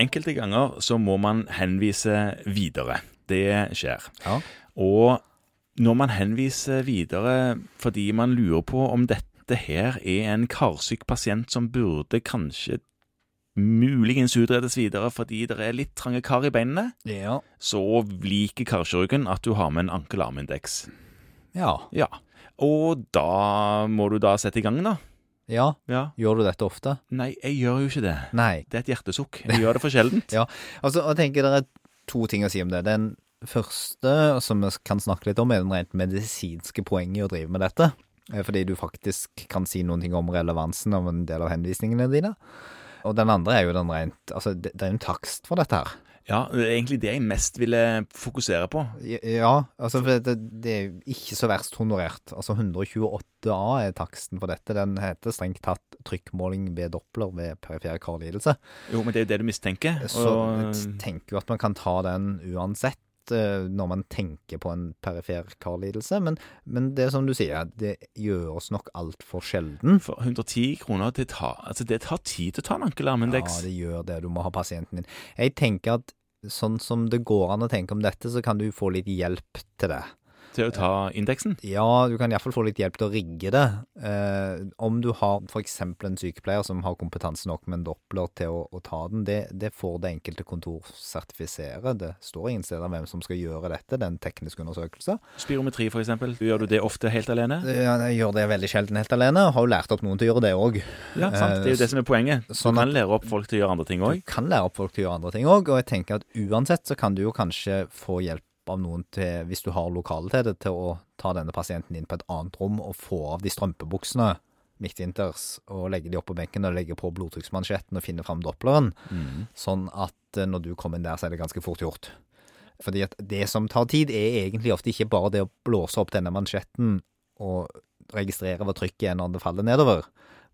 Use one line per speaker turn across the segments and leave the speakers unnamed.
enkelte ganger så må man henvise videre. Det skjer.
Ja.
Og når man henviser videre fordi man lurer på om dette her er en karsyk pasient som burde kanskje muligens utredes videre fordi det er litt trange kar i beinene,
Ja.
så liker karkirurgen at du har med en ankel-arm-indeks.
ja.
Ja. Og da må du da sette i gang, da.
Ja.
Ja.
Gjør du dette ofte?
Nei, jeg gjør jo ikke det.
Nei.
Det er et hjertesukk. Jeg gjør det for sjeldent.
Ja. Altså, jeg tenker det er to ting å si om det. Den første, som vi kan snakke litt om, er den rent medisinske poenget i å drive med dette. Eh, Fordi du faktisk kan si noen ting om relevansen av en del av henvisningene dine. Og den andre er jo den rent Altså, det, det er jo en takst for dette her.
Ja, det er egentlig det jeg mest ville fokusere på.
Ja, altså for det, det er jo ikke så verst honorert. Altså 128A er taksten for dette. Den heter strengt tatt trykkmåling ved Doppler ved perifer karlidelse.
Jo, men det er jo det du mistenker.
Så jeg tenker jo at man kan ta den uansett. eh, Når man tenker på en perifer karlidelse. Men, men det er som du sier, det gjøres nok altfor sjelden.
For 110 kroner, det tar, altså det tar tid til å ta en
Ja,
ankelarmindeks.
det gjør det. Du må ha pasienten din. Jeg tenker at sånn som det går an å tenke om dette, så kan du få litt hjelp til det.
til å ta indeksen.
Ja, du kan iallfall få litt hjelp til å rigge det. Eh, om du har f.eks. en sykepleier som har kompetanse nok med en doppler til å, å ta den, det, det får det enkelte kontor sertifisere. Det står ingen steder hvem som skal gjøre dette, den tekniske undersøkelsen.
Spirometri, for eksempel. Gjør du det ofte helt alene?
Eh, Jeg gjør det veldig sjelden helt alene, og har jo lært opp noen til å gjøre det òg.
Ja, sant. Det er jo det som er poenget. Du
sånn
kan lære opp folk til å gjøre andre ting
Du
òg.
kan lære opp folk til å gjøre andre ting òg, og jeg tenker at uansett så kan du jo kanskje få hjelp av noen til, hvis du har lokale til det, til å ta denne pasienten inn på et annet rom og få av de strømpebuksene midtvinters, og legge de opp på benken og legge på blodtrykksmansjetten og finne fram doppleren, sånn at eh, når du kommer inn der, så er det ganske fort gjort. Fordi at det som tar tid, er egentlig ofte ikke bare det å blåse opp denne mansjetten og registrere hva trykket er når det faller nedover,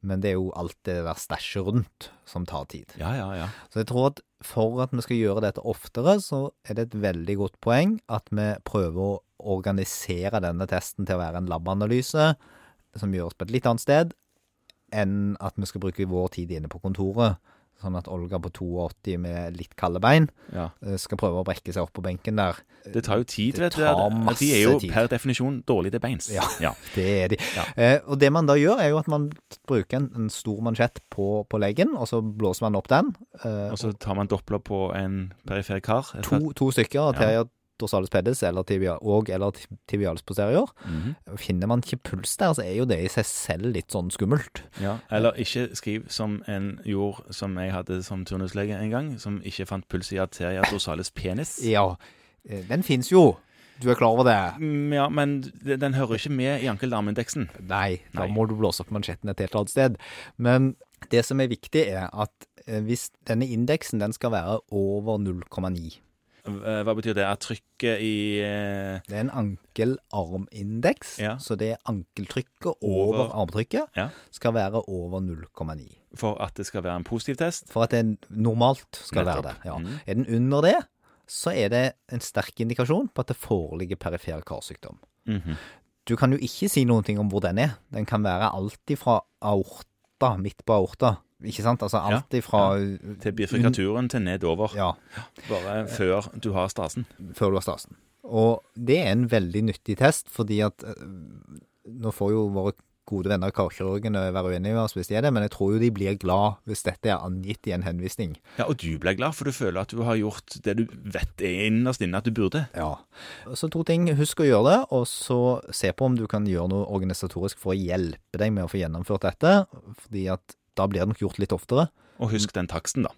men det er jo alt det der stæsjet rundt som tar tid.
Ja, ja, ja.
Så jeg tror at for at vi skal gjøre dette oftere, så er det et veldig godt poeng at vi prøver å organisere denne testen til å være en labanalyse som gjøres på et litt annet sted, enn at vi skal bruke vår tid inne på kontoret. Sånn at Olga på 82 med litt kalde bein
ja.
eh, skal prøve å brekke seg opp på benken der.
Det tar jo tid,
Eh, Det
vet du.
tar
at- at De er
masse
jo
tid.
per definisjon dårlige til beins.
Ja.
ja.
Det er de.
Ja.
Eh, og det man da gjør, er jo at man bruker en, en stor mansjett på, på leggen, og så blåser man opp den. eh,
Og så tar man doppler på en perifer kar. et
to, to stykker av
Ja.
Terrier dorsalis pedis eller tibia, og eller ti- tibialis posterior.
Mhm.
Finner man ikke puls der, så er jo det i seg selv litt sånn skummelt.
Ja, eller ikke skriv som en gjorde som jeg hadde som turnuslege en gang, som ikke fant puls i arteria dorsalis penis.
Ja, eh, den fins jo. Du er klar over det?
Mm, Ja, men den den hører ikke med i ankel-arm-indeksen.
Nei, da
Nei.
må du blåse opp mansjetten et helt annet sted. Men det som er viktig, er at eh, hvis denne indeksen den skal være over 0,9
Eh, Hva betyr det? Er trykket i eh,
Det er en ankel-arm-indeks,
Ja.
så det er ankeltrykket over,
Over.
armtrykket
Ja.
skal være over 0,9.
For at det skal være en positiv test?
For at det normalt skal
Nettopp.
være det. Ja.
Mhm.
Er den under det, så er det en sterk indikasjon på at det foreligger perifer karsykdom.
Mhm.
Du kan jo ikke si noen ting om hvor den er. Den kan være alt ifra aorta, midt på aorta, ikke sant? Altså alt ifra
Til bifurkaturen til nedover,
Ja,
bare før du har stasen.
før du har stasen. Og det er en veldig nyttig test, fordi at eh, Nå får jo våre gode venner karkirurgene være uenige med oss hvis de er det, men jeg tror jo de blir glad hvis dette er angitt i en henvisning.
Ja, Og du blir glad, for du føler at du har gjort det du vet er innerst inne at du burde.
Ja. Så to ting. Husk å gjøre det, og så se på om du kan gjøre noe organisatorisk for å hjelpe deg med å få gjennomført dette. fordi at da blir det nok gjort litt oftere,
Mm. Og husk den taksten, da.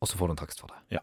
og så får du en takst for det.
Ja.